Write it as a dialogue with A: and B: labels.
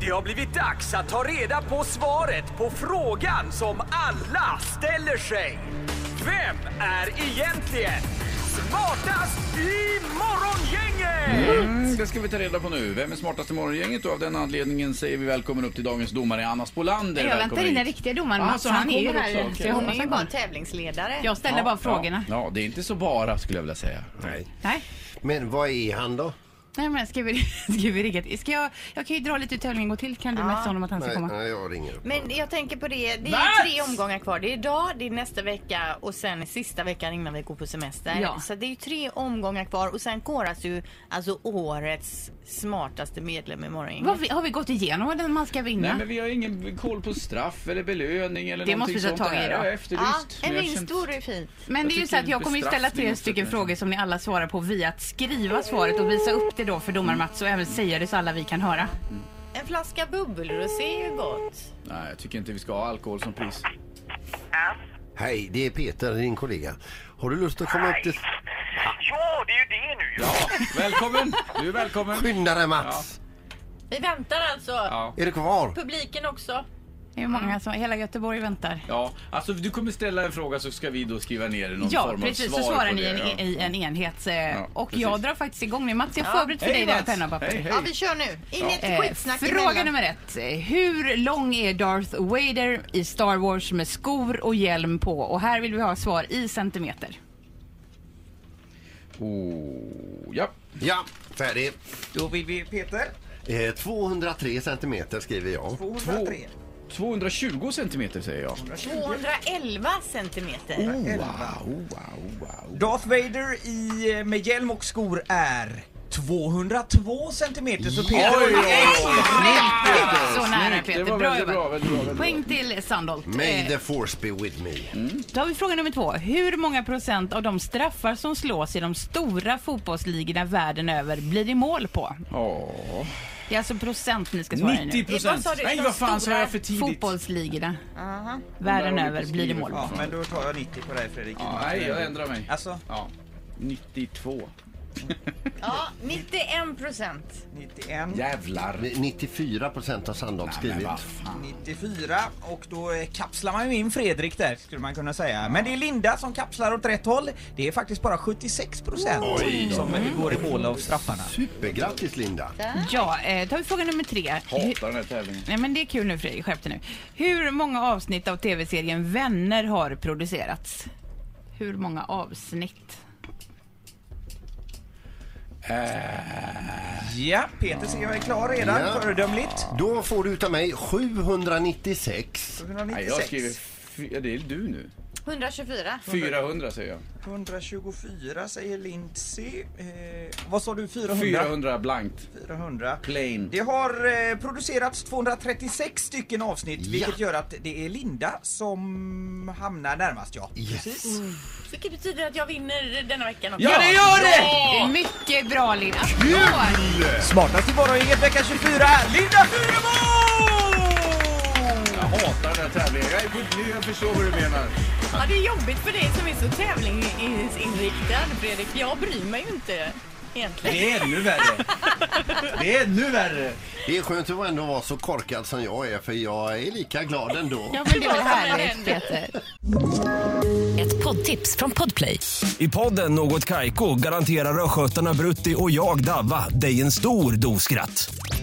A: Det har blivit dags att ta reda på svaret på frågan som alla ställer sig. Vem är egentligen smartast i Morgongänget?
B: Mm, det ska vi ta reda på nu. Vem är smartast i morgongänget? Och av den anledningen säger vi välkommen upp till dagens domare Anna Spolander.
C: Jag
B: Välkommen
C: väntar in
B: hit.
C: den riktiga domaren
B: Ah,
C: Mats.
B: så
C: han,
B: han
C: är ju
B: kommer
C: här.
B: också, okej.
C: så jag
B: Ja,
D: Hon är
C: hoppas
D: ju
C: han
D: bara
C: kommer.
D: en tävlingsledare.
C: Jag ställer bara frågorna.
B: Ja, det är inte så bara skulle jag vilja säga.
E: Nej.
C: Nej.
E: Men vad är han då?
C: Nej men ska vi, ska vi rigga ska jag, jag kan ju dra lite hur tävlingen går till. Kan du messa honom att han ska
E: Nej,
C: komma?
E: nej, jag ringer upp.
D: Men jag tänker på det, det är
B: Mats!
D: ju tre omgångar kvar. Det är idag, det är nästa vecka och sen sista veckan innan vi går på semester.
C: Ja.
D: Så det är ju tre omgångar kvar och sen koras ju alltså årets smartaste medlem i
C: Vad
D: morgon.
C: vi, har vi gått igenom vad den man ska vinna?
B: Nej, men vi har ingen koll på straff eller belöning eller
C: Det
B: någonting
C: måste vi ta
B: sånt
C: tag i
B: där.
C: då.
B: Ja,
D: Ja,
B: efterlyst.
D: en
B: Men jag
D: vinst
B: känns-
D: vore ju fint.
C: Men
B: Jag
C: det är ju så
B: tycker
C: att jag kommer ju ställa
B: bestraffning
C: tre
B: måste
C: stycken
B: det.
C: frågor som ni alla svarar på via att skriva svaret och visa upp det då för domare Mats och även säga det så alla vi kan höra.
D: En flaska bubbelrosé är ju gott.
B: Nej, jag tycker inte vi ska ha alkohol som pris.
E: Hej, det är Peter, din kollega. Har du lust att komma upp till...
F: Ja, det är ju det nu ju.
B: Ja, välkommen! Du är välkommen.
E: Skynda dig Mats!
D: Vi väntar alltså.
B: Ja.
E: Är du kvar?
D: Publiken också.
C: Det är ju många som, hela Göteborg väntar.
B: Ja, alltså du kommer ställa en fråga så ska vi då skriva ner någon
C: Ja,
B: form av
C: precis.
B: svar
C: Så svarar
B: på
C: ni i
B: det.
C: en,
B: ja.
C: i en enhet. eh, och
B: precis.
C: jag drar faktiskt igång nu. Mats, jag har förberett för
B: Hej,
C: dig dina
B: Mats.
C: penna och papper.
B: Hej, hej.
D: Ja, vi kör nu. Inget
C: Eh,
D: skitsnack
C: Fråga
D: emellan.
C: nummer ett. Eh, Hur lång är Darth Vader i Star Wars med skor och hjälm på? Och här vill vi ha svar i centimeter.
B: Oh, ja.
E: Ja, färdig.
G: Då vill vi Peter.
E: Eh, 203 centimeter skriver jag.
G: 203.
B: 220 centimeter säger jag.
D: 211 centimeter.
C: Oh.
B: Wow, wow, wow.
G: Darth Vader i, eh, med hjälm och skor är 202 centimeter. Så Peter
B: Oj, oj,
C: Så nära Peter.
B: Det var
C: Bra
B: väldigt bra,
C: jobbat.
B: väldigt bra. Väldigt bra.
C: Poäng till Sandholt.
E: May
C: Eh,
E: the force be with me.
C: Då har vi fråga nummer två. Hur många procent av de straffar som slås i de stora fotbollsligorna världen över blir det mål på?
B: Ja.
C: Det är alltså procent ni ska svara i
B: 90
C: nu.
B: procent.
D: sa du?
B: Nej,
D: De
B: vad fan sa
D: stora
B: jag för tidigt?
C: Fotbollsligorna världen
B: Där har vi
C: över blir det mål på.
G: Ja, men då tar jag 90 på dig Fredrik.
B: Ja, Nej, jag ändrar mig.
G: Alltså,
B: Ja. 92.
D: Ja, 91 procent.
G: 91,
B: Jävlar.
E: 94 procent har Sandholt skrivit.
B: vad fan.
G: 94 och då eh, kapslar man ju in Fredrik där skulle man kunna säga. Men det är Linda som kapslar åt rätt håll. Det är faktiskt bara 76 procent som eh, går i mål av straffarna.
E: Supergrattis Linda!
C: Ja, eh, då har vi fråga nummer tre. Hur-
B: Hatar den här tävlingen.
C: Nej men det är kul nu Fredrik, skärp dig nu. Hur många avsnitt av tv-serien Vänner har producerats? Hur många avsnitt?
G: Ja, Peter ser jag är klar redan.
E: Ja.
G: Föredömligt.
E: Då får du utav mig 796.
G: 196.
B: Nej, jag skriver... fy- Ja, det är du nu.
D: 124.
B: 400 säger jag.
G: 124 säger Lindsay. Eh, vad sa du? 400?
B: 400 blankt.
G: 400.
B: Plain.
G: Det har eh, producerats 236 stycken avsnitt vilket
E: Ja.
G: gör att det är Linda som hamnar närmast ja.
E: Yes!
D: Vilket betyder att jag vinner denna veckan också.
B: Ja, det gör det!
C: Det är mycket bra Linda.
G: Smartast i morgongänget vecka 24, Linda Fyremo!
B: Jag hatar den här tävlingen. Jag är på Jag förstår vad du menar.
D: Ja, det är jobbigt för dig som är så tävlingsinriktad, Fredrik. Jag bryr mig ju inte egentligen.
G: Det är ännu värre. Det är ännu värre.
E: Det är skönt att ändå vara så korkad som jag är för jag är lika glad ändå.
C: Ja men det är väl
D: Vad som
C: härligt
D: händer.
C: Peter.
H: Ett poddtips från Podplay.
I: I podden Något Kaiko garanterar östgötarna Brutti och jag, Davva, dig en stor dos skratt.